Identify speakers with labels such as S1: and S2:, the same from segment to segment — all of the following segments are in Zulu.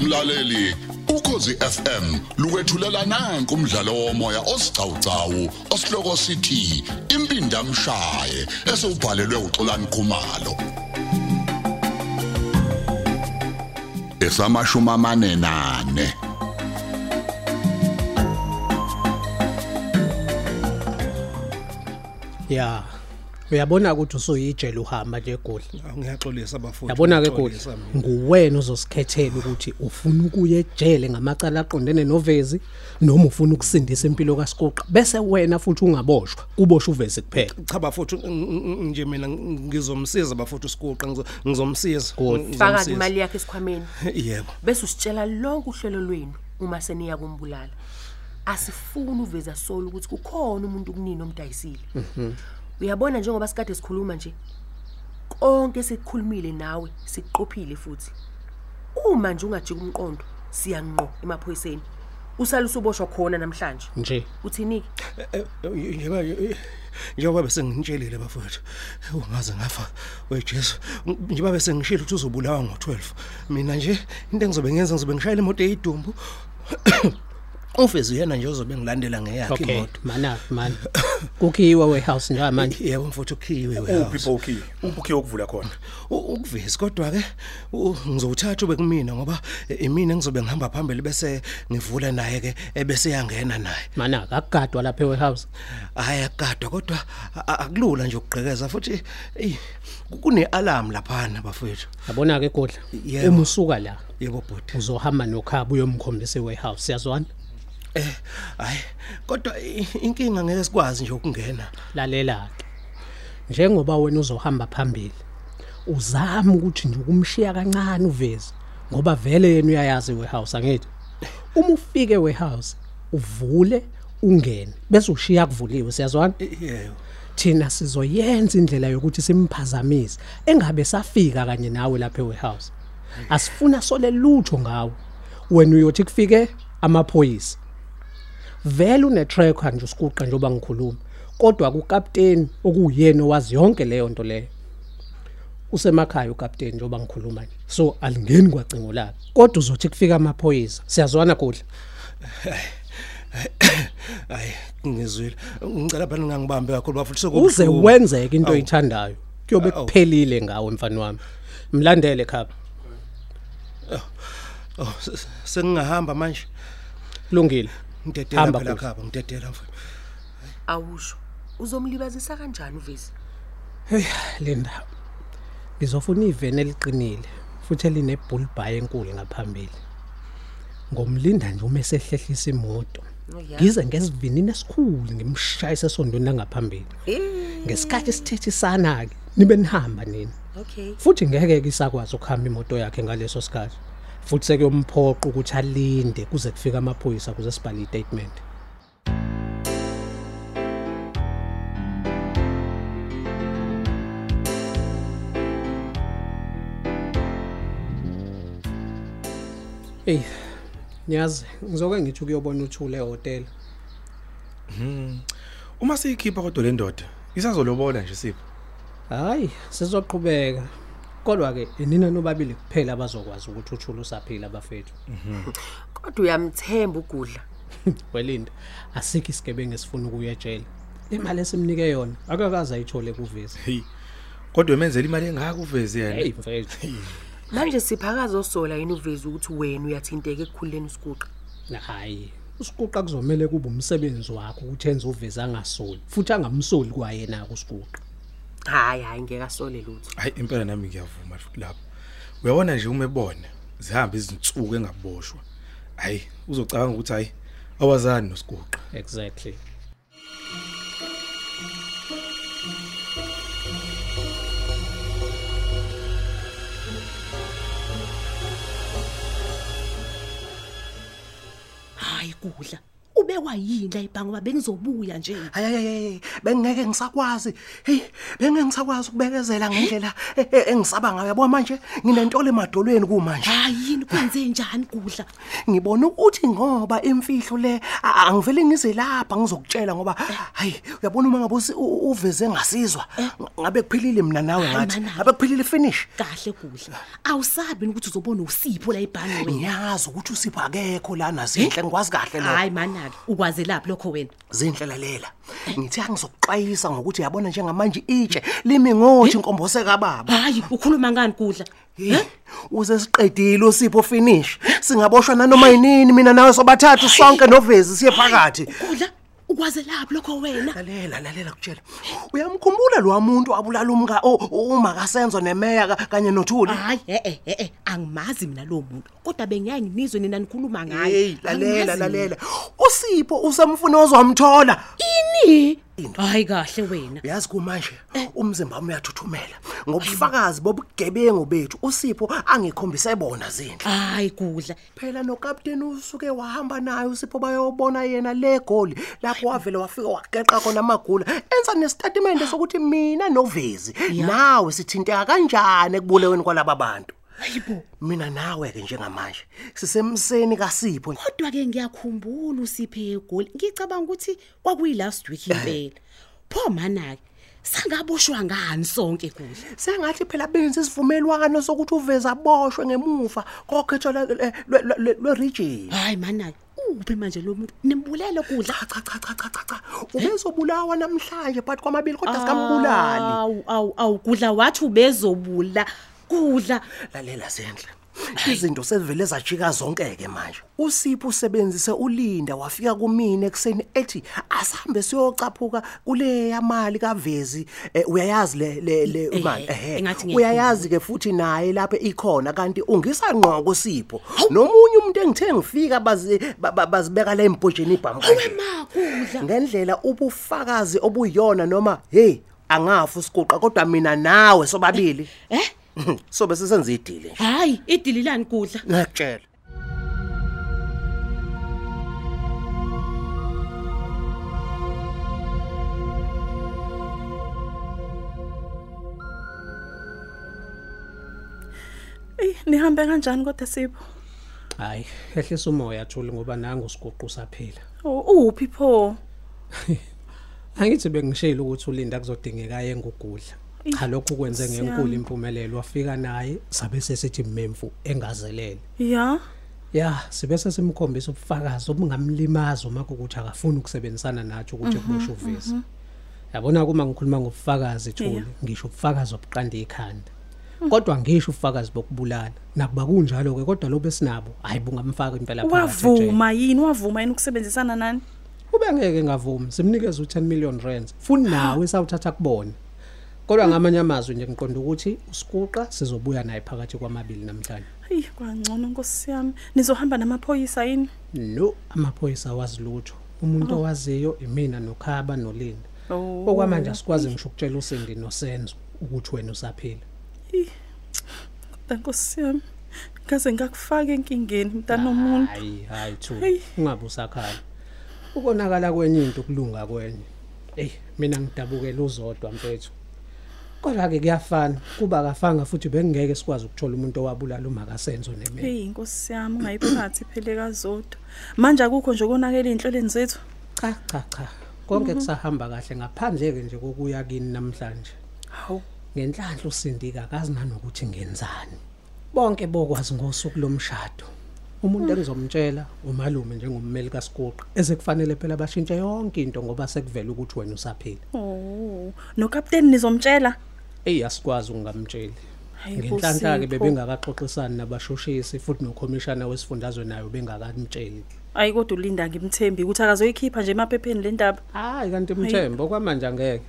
S1: mlaleli ukhosi FM lukwethulela nanku umdlalo womoya osiqhawqhawo osihloko sithi impinda mshaye esubhalelwe uXolani Khumalo esamashuma amane nane
S2: ya uyabona ukuthi usuyijele uhamba nje egoli
S3: Ah, ngiyaxolisa abafundi
S2: yabona ke egoli
S3: Ngiyaxolisa mina.
S2: nguwena ozosikhethela ukuthi ufuna ukuya ejele ngamacala aqondene novezi noma ufuna ukusindisa impilo kaSikuqa bese wena futhi ungaboshwa kuboshwa uvezi kuphela
S3: cha bafuthi ng- ng- nje mina ng- ngizomsiza bafuthi usikuqa ngizo- ngizomsiza
S2: Good.
S3: ng-
S4: faka
S3: ngizomsiza.
S4: imali yakhe esikhwameni
S3: yebo
S4: bese usitshela lonke uhlelo lwenu uma seniya kumbulala asifuni uveza solo ukuthi kukhona umuntu kunini omdayisile uyabona njengoba sikade sikhuluma nje konke sikukhulumile nawe siqophile futhi uma nje ungajika umqondo siyanqo emaphoyiseni usale usuboshwa khona namhlanje
S2: nje
S4: uthini
S3: Eh, eh, njengoba njengoba besengitshelile bafuthi ungaze ngafa wejesu njengoba besengishilo ukuthi uzobulawa ngo12 mina nje into engizobe ngenza ngizobe ngishayela imoto eyidumbu ufezi yena nje uzobe ngilandela ngeyakhe
S2: okay
S3: imoto
S2: mana man kukhiwa warehouse ah, njengamanje
S3: yebo mfuthu ukhiwe
S5: uphi
S3: warehouse.
S5: bokhi uphi okuvula khona
S3: U- ukuvisa kodwa ke ngizowuthatha ube kumina ngoba eh, imina ngizobe ngihamba phambili bese ngivula naye ke ebese yangena naye
S2: mana akagadwa lapha ewarehouse
S3: hhayi akadwa kodwa a- a- akulula nje ukugqekeza futhi eyi, ku- kune-alarm laphana bafowethu
S2: yabona ke godla
S3: Yebo.
S2: uma usuka la
S3: yebo bhuti
S2: uzohamba nokhaba uyomkhombisa ewarehouse yazwana
S3: um hhayi kodwa i- inkinga ngeke sikwazi nje ukungena
S2: lalela ke njengoba wena uzohamba phambili uzama ukuthi nje ukumshiya kancane uvezi ngoba vele yena uyayazi warehouse angithi uma ufike warehouse uvule ungene bese ushiya kuvuliwe siyazwana
S3: E- yebo
S2: thina sizoyenza indlela yokuthi simphazamise engabe safika kanye nawe lapha ewarehouse asifuna sole lutho ngawe wena uyothi kufike amaphoyisa vele une tracker nje usikuqa njengoba ngikhuluma kodwa kukapteni okuyena owazi yonke leyo nto leyo usemakhaya ukapteni njengoba ngikhuluma nje so alingeni kwacingo lakhe kodwa uzothi kufika amaphoyisa siyazwana kodla
S3: hhayi ngizwile ngicela phana ngangibambe kakhulu bafuthi
S2: uze
S3: sekubuhlungu.
S2: wenzeke into
S3: Awu.
S2: oyithandayo kuyobe
S3: Awu.
S2: kuphelile ngawe mfani wami mlandele khapha
S3: Oh, se- se- sengingahamba manje
S2: kulungile
S3: ngidedela
S2: Hamba
S3: phela
S2: Bhuti.
S3: khaba ngidedela mfowethu
S4: awusho uzomlibazisa kanjani uvezi
S2: heyi linda ngizofuna iveni eliqinile futhi elinebullby enkulu ngaphambili ngomlinda nje uma esehlehlisa imoto
S4: Oh, ya.
S2: ngize ngesivinini esikhulu ngimshayise esondweni langaphambili
S4: Eh,
S2: ngesikhathi sithethisana-ke nibe nihamba nini
S4: okay
S2: futhi ngeke-ke isakwazi ukuhamba imoto yakhe ngaleso sikhathi futhi sekuyomphoqa ukuthi alinde kuze kufike amaphoyisa kuze sibhale i-statement eyi niyazi ngizoke ngithi ukuyobona uthule ehhotela
S5: uma siyikhipha kodwa le ndoda isazolobola nje sipho
S2: hhayi sizoqhubeka kodwa-ke inina nobabili kuphela abazokwazi ukuthi uthule usaphila abafethu
S4: kodwa uyamthemba ugudla
S2: welinda asikho isigebengu esifuna ukuya ejele le mali esimnike yona akakaze ayithole kuvisa
S5: hey kodwa emenzela imali engaka uveze yena
S2: heyi mfethu
S4: manje siphakazosola yini uvezi ukuthi wena uyathinteka ekukhuleni usikuqa
S2: hayi usikuqa kuzomele kube umsebenzi wakho ukuthi enze uveza angasoli futhi angamsoli kwayena-ke usikuqa
S4: hhayi hhayi ngeke asole lutho
S5: hayi impela nami ngiyavuma lapho uyabona nje uma ebona zihamba izinsuku engaboshwa hayi uzocabanga ukuthi hayi awazani nosiguqa
S2: exactly
S6: hayi kudla ube bekwa yini la ibhangi uba bengizobuya nje
S3: hayaye bengeke ngisakwazi hey bengeke ngisakwazi ukubekezela ngendlela e- e- engisaba ngayo yabo manje nginentolo emadolweni kumanje
S6: hayi yini kwenze njani kudla
S3: ngibona ukuthi ngoba imfihlo le a- angivele ngize lapha ngizokutshela ngoba hayi uyabona uma ngabe usi- u- uveze ngasizwa ngabe kuphilile mina nawe
S6: Eh? Hayi,
S3: ngathi
S6: manabi.
S3: ngabe kuphilile finish
S6: kahle kudla awusabi yini ukuthi uzobona usipho la ibhangi wena
S3: ngiyazi ukuthi usipho akekho lana zinhle ngikwazi kahle lokho
S6: Eh? hayi manaki ukwazelaphi lokho wena
S3: zinhle lalela ngithi angizokuxwayisa ngokuthi yabona njengamanje itshe limi ngothi
S6: Eh?
S3: inkombose kababa
S6: hayi ukhuluma ngani kudla
S3: Eh, uze siqedile usipho finish singaboshwa nanoma yinini mina nawe sobathathu sonke novezi siye phakathi
S6: kudla ukwazelaphi lokho wena
S3: lalela lalela kutshela uyamkhumbula lo muntu abulala umka o- o- umakasenzo nemeya ka- kanye nothuli
S6: hayi eh eh eh angimazi mina lo muntu kodwa bengiyaye nginizwe nina nikhuluma
S3: hey
S6: ngaye
S3: lalela
S6: Angimazi mina.
S3: lalela usipho usemfuna ozwamthola
S6: ini hayi kahle wena
S3: uyazi kumanje umzimba wami uyathuthumela ngobufakazi bobugebengu bethu usipho angikhombise bona zindlu
S6: hayi kudla
S3: phela nokapteni usuke wahamba naye usipho bayobona yena le goli lapho wavele wafika wageqa khona amagula enza nesitatimende sokuthi mina novezi nawe sithinteka kanjani ekubuleweni kwalaba bantu
S6: hayibo
S3: mina nawe-ke njengamanje sisemseni kasipho
S6: kodwa-ke ngiyakhumbula usiphe egoli ngicabanga ukuthi kwakuyi-last week impela pho mana-ke sangaboshwa ngani sonke kudla
S3: sengathi phela benze isivumelwano sokuthi uveze aboshwe ngemuva kokhetho lwe-region
S6: hayi mana-ke uphi manje lo muntu nimbulele kudla
S3: cha cha cha cha cha cha cha ubezobulawa namhlanje phakathi kwamabili kodwa sikambulali
S6: awu awu awu kudla wathi ubezobula kudla
S3: lalela sendle izinto sezivele zajika zonke ke manje usipho usebenzise ulinda wafika kumina ekseni ethi asihambe siyocaphuka kule yamali kavezi eh, uyayazi le le le
S6: Eh,
S3: imali
S6: eh,
S3: ehe
S6: engathi ngiyakhumbula.
S3: uyayazi ke futhi naye lapha ikhona kanti ungisanqoko usipho nomunye umuntu engithe ngifika bazi ba- ba- bazibeka la embhojeni ibhamu kanje.
S6: ma kudla
S3: ngendlela ubufakazi obuyona noma hey angafi usiguqa kodwa mina nawe sobabili
S6: eh
S3: sobe sisenze idile nje
S6: hayi idililani kudla
S3: ngiyakutshela
S7: eyi nihambe kanjani kodwa sipho
S2: hayi ehlisa umoya thuli ngoba nangu usiguqu saphila
S7: U- uphi pho
S2: angithi bengishilo ukuthi ulinda kuzodingeka yengugudla cha lokhu kwenze ngenkulu
S7: Siyami.
S2: impumelelo wafika naye sabe sesithi memfu engazelele
S7: ya
S2: ya sibe sesimkhombisa ubufakazi obungamlimaza uma kukuthi akafuni ukusebenzisana nathi ukuthi kuboshwe uvezi yabona kuma ngikhuluma ngobufakazi thuli ngisho ubufakazi obuqanda ikhanda kodwa ngisho ubufakazi bokubulala nakuba kunjalo ke kodwa lobe sinabo hayi bungamfaka impela phakathi ejele.
S7: wavuma yini wavuma yini ukusebenzisana nani
S2: ube ngeke ngavumi simnikeze u10 million rand futhi nawe sawuthatha kubona kodwa ngamanye amazwi nje ngiqonda ukuthi usikuqa sizobuya naye phakathi kwamabili namhlanje
S7: eyi kwangcono nkosi yami nizohamba namaphoyisa yini
S2: no amaphoyisa wazilutho umuntu owaziyo imina nokhaba nolinda
S7: Ah. Oh.
S2: okwamanje asikwazi ngisho ukutshela usindi nosenzo ukuthi wena usaphila
S7: kodwa nkosi yami ngaze ngakufaka enkingeni mntanomuntu
S2: hayi hayi thu
S7: Hey.
S2: ungabe usakhala ukonakala kwenye into kulunga kwenye eyi mina ngidabukela uzodwa mfethu kodwa-ke kuyafana kuba akafanga futhi bengingeke sikwazi ukuthola umuntu owabulala umakasenzo nemele
S7: eyi nkosi yami ungayiphathi phele kazodwa manje akukho nje ukonakela ey'nhlelweni zethu
S2: cha cha cha konke
S7: Mhm.
S2: kusahamba kahle ngaphandle-ke nje kokuya kini namhlanje
S7: hawu
S2: ngenhlanhla usindika akazi nanokuthi ngenzani bonke bokwazi ngosuku lomshado umuntu engizomtshela umalume njengommeli kasiguqa ezekufanele phela bashintshe yonke into ngoba sekuvele ukuthi wena usaphila
S7: o nokapteni Oh, nizomtshela
S2: eyi asikwazi ukungamtsheli
S7: Hayi bo,
S2: ngenhlanhla-ke
S7: Sipho.
S2: bebengakaxoxisani nabashushisi futhi nokhomishana wesifundazwe nayo bengakamtsheli
S7: ayi kodwa ulinda ngimthembi ukuthi akazoyikhipha nje emaphepheni le ndaba
S2: hhayi kanti mthembo okwamanje angeke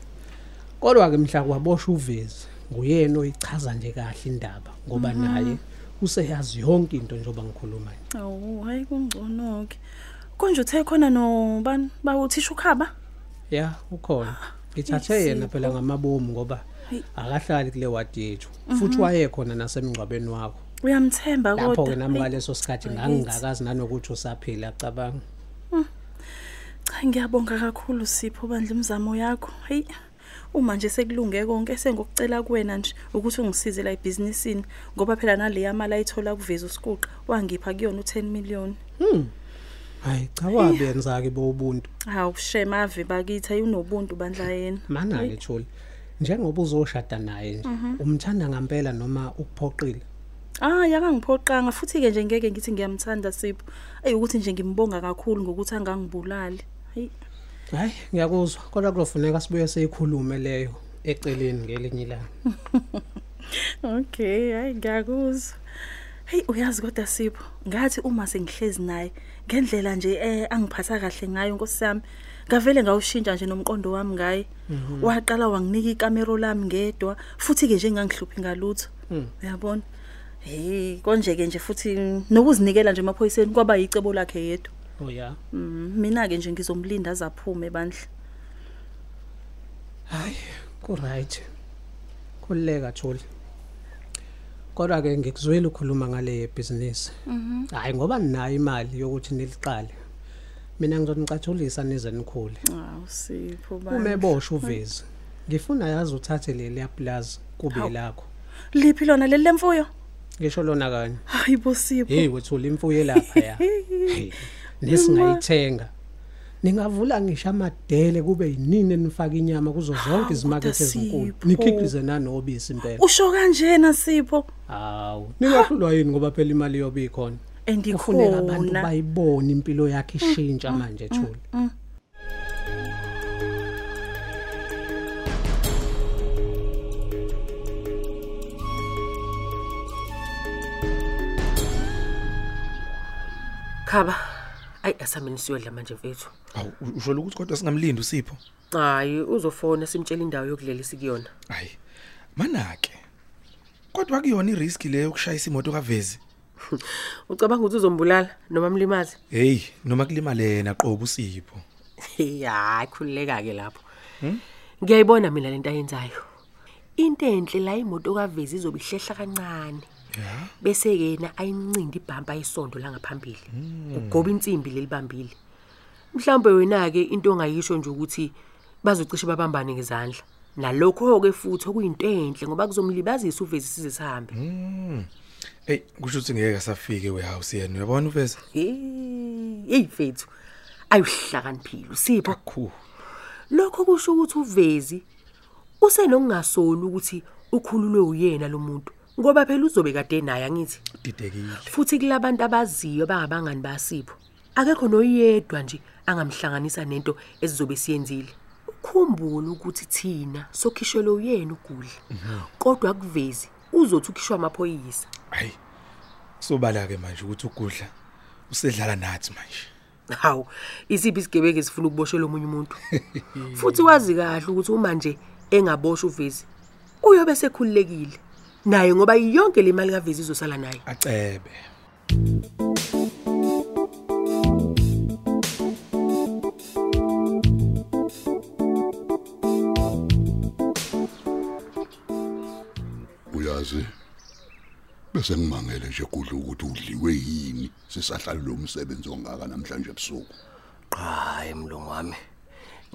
S2: kodwa-ke mhla kwaboshwa uvezi nguyena oyichaza nje kahle indaba ngoba naye useyazi yonke into njengoba ngikhuluma nje
S7: awu hayi kungcono-ke konje uthe khona nobani bawuthisha ukhaba
S2: ya ukhona ngithathe yena phela ngamabomu ngoba akahlali kule wadi yethu futhi wayekhona nasemngcwabeni wakho
S7: uyamthemba
S2: lapho-ke nami
S7: kodwa
S2: ngaleso sikhathi ngangingakazi nanokuthi usaphila cabanga
S7: Ngiyabonga kakhulu Sipho bandla imizamo yakho. Hey uma nje sekulunge konke sengokucela kuwena nje ukuthi ungisize la ebusinessini ngoba phela naleya mali ayithola kuveza usiquqa wangipha kuyona u10 million.
S2: hayi cha wabe yenza ke bo ubuntu
S7: Hawu shema ave bakithi ayinobuntu bandla yena.
S2: mana ke Thuli njengoba uzoshada naye nje umthanda ngempela noma ukuphoqile
S7: Ah yakangiphoqanga futhi ke nje ngeke ngithi ngiyamthanda Sipho. Ey ukuthi nje ngimbonga kakhulu ngokuthi angangibulali. Hey
S2: hayi ngiyakuzwa kodwa kuzofuneka sibuye siyikhulume leyo eceleni ngelinye ilanga
S7: Okay, hayi ngiyakuzwa. Hey uyazi kodwa Sipho, ngathi uma sengihlezi naye ngendlela nje eh angiphatha kahle ngayo Nkosi yami, ngavele ngawushintsha nje nomqondo wami ngaye. Waqala wanginika ikamero lami ngedwa, futhi ke nje ngangihluphi ngalutho. Uyabona? Hey, konje ke nje futhi nokuzinikela nje emaphoyiseni kwaba yicebo lakhe yedwa.
S2: oh ya
S7: Mm, Mina ke nje ngizomlinda azaphume bandla.
S2: hayi ku right khulileka Thuli kodwa ke ngikuzwile ukukhuluma ngale business hayi ngoba ninayo imali yokuthi niliqale mina ngizonicathulisa nize nikhule
S7: Hawu Sipho
S2: uma
S7: bandla.
S2: eboshwe uvezi ngifuna yazi uthathe leli plaza kube lakho
S7: Liphi lona leli lemfuyo?
S2: ngisho lona kanye
S7: Hayibo Sipho.
S2: hey wethu imfuyo lapha ya Hey, nesingayithenga ningavula ngisho amadele kube yinini enifaka inyama kuzo zonke izimakethe
S7: kodwa
S2: ezinkulu
S7: Sipho.
S2: nikhiqize nanobisi impela
S7: Usho kanjena Sipho?
S2: hawu ningahlulwa yini ngoba phela imali yobe ikhona kufuneka abantu
S7: Endikhona.
S2: bayibone impilo yakhe ishintsha manje thula
S4: khaba ayi asamini siyodla manje mfethu
S5: Awu u- usho ukuthi kodwa singamlindi uSipho.
S4: hayi uzofona simtshela indawo yokulela sikuyona
S5: Hayi. Manake. Kodwa kuyona irisk leyo yokushayisa imoto kaVezi.
S4: ucabanga ukuthi uzombulala noma mlimazi
S5: Hey, noma kulimale yena qobo uSipho.
S4: hayi khululeka-ke lapho ngiyayibona mina lento ayenzayo into enhle la imoto kavezi izobe ihlehla kancane bese yena ayimncindi ibhampa ayisondo langaphambili ugoba insimbi lelibambile mhlawumbe wena-ke into ongayisho nje ukuthi bazocishe babambane ngezandla nalokho-ke futhi okuyinto enhle ngoba kuzomlibazisa uvezi size sihambe
S5: Hey, kusho ukuthi ngeke asafike warehouse yena. Uyabona uVezi?
S4: yeyi fethu ayuhlakaniphile usipho
S5: Khu.
S4: lokho kusho ukuthi uvezi usenokungasoli ukuthi ukhululwe uyena lo muntu ngoba phela uzobe kade naye angithi
S5: Didekile.
S4: futhi kulabantu abaziyo bangabangani basipho akekho noyedwa nje angamhlanganisa nento esizobe siyenzile ukhumbule ukuthi thina sokhishelwe uyena ugudla kodwa kuvezi uzothi ukhishwa amaphoyisa
S5: Hayi. Sobala ke manje ukuthi ugudla usedlala nathi manje.
S4: hawu isiphi isigebengu esifuna ukuboshelwa omunye umuntu futhi wazi kahle ukuthi uma nje engaboshwa uvezi uyobe sekhululekile naye ngoba yonke le mali kavezi izosala naye
S5: Acebe.
S1: uyazi bese ngimangele nje kudla ukuthi udliwe yini sisahlala lo msebenzi ongaka namhlanje ebusuku
S8: hayi mlungu wami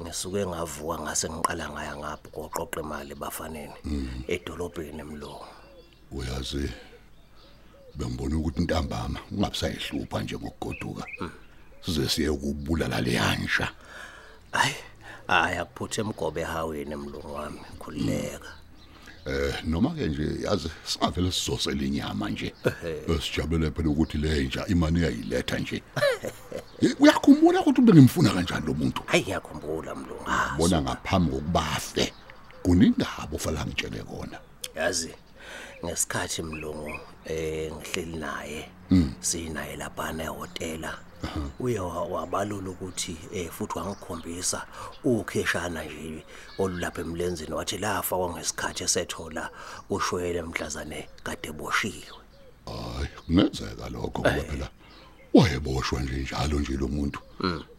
S8: ngisuke ngavuka ngase ngiqala ngaya ngapho koqoqa imali bafaneni edolobheni mlungu
S1: uyazi bengibona ukuthi ntambama ungabisayihlupha nje ngokugoduka size siye kubulala leyansha
S8: hayi hayi akuphuthe emgobe ehaweni mlungu wami khululeka
S1: eh noma ke nje yazi singavele sizosele inyama nje besijabule phela ukuthi lenja imali iyayiletha nje Eh, uyakhumbula ukuthi ubengimfuna kanjani lo muntu
S8: hayi ngiyakhumbula mlungu ah,
S1: bona ngaphambi kokubafe kunindaba ofala ngitshele kona
S8: yazi ngesikhathi mlungu eh ngihleli naye sinaye laphana ehotela uye wa- wabalula ukuthi eh futhi wangikhombisa ukheshana nje olulapha emlenzeni wathi lafa kwangesikhathi esethola ushwele mhlazane kade boshiwe
S1: hayi kungenzeka lokho ngoba phela wayeboshwa nje njalo nje lo muntu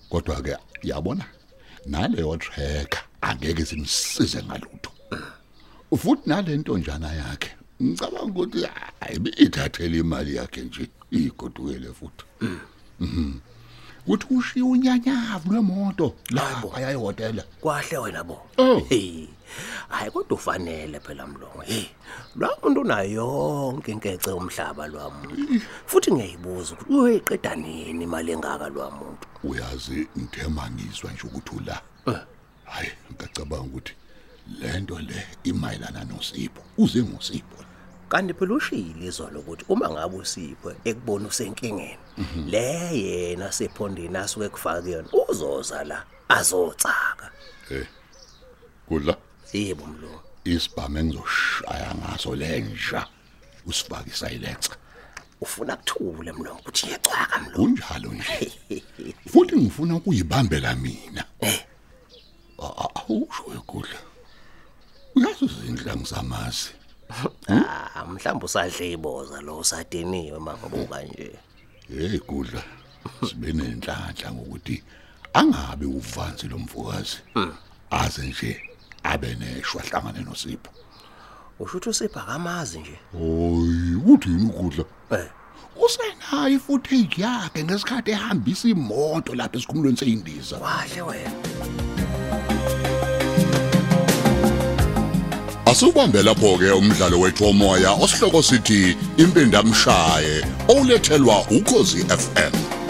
S1: kodwa ke yabona naleyo tracker angeke simsize ngalutho futhi nalento njana yakhe ngicabanga ukuthi hayi ithathele imali yakhe nje igodukele futhi Mhm. kuthi ushiye unyanyavu lwemoto lapha ayayihotela
S3: kwahle wena bo
S1: Oh.
S3: Hey. hayi kodwa ufanele phela mlungu hey lwa muntu unayo yonke inkece umhlaba lwamuntu futhi ngiyayibuza ukuthi uyoyiqeda nini imali engaka lwamuntu
S1: uyazi ngithema ngizwa nje ukuthi ula hayi ngicabanga ukuthi lento le imayilana noSipho uze ngoSipho
S3: kanti phela ushiyile izwa lokuthi uma ngabe usipho ekubona usenkingeni le yena sephondini asuke kufake yona uzoza la azotsaka
S1: eh kudla
S3: yebo mlungu
S1: isibhamu engizoshaya ngaso lenja usifake isayilensa
S3: ufuna kuthule mlungu ukuthi ngiyacwaka mlungu
S1: kunjalo nje futhi ngifuna ukuyibambela mina A- a- awusho ekudla uyazi izindlangu zamazi
S3: Ah, mhlawumbe usadle iboza lo usadiniwe mangibuka nje
S1: hey kudla sibe nenhlanhla ngokuthi angabe uvanzi lomvukazi aze nje abe neshwa hlangane noSipho
S3: usho ukuthi usipha kamazi nje
S1: hoyi uthi yini ukudla
S3: eh
S1: usenayo ifootage yakhe ngesikhathi ehambisa imoto lapha esikhumulweni seyindiza
S3: wahle wena
S1: Asubambe lapho ke umdlalo wethu omoya osihloko sithi impindamshaye olethelwa ukozi FM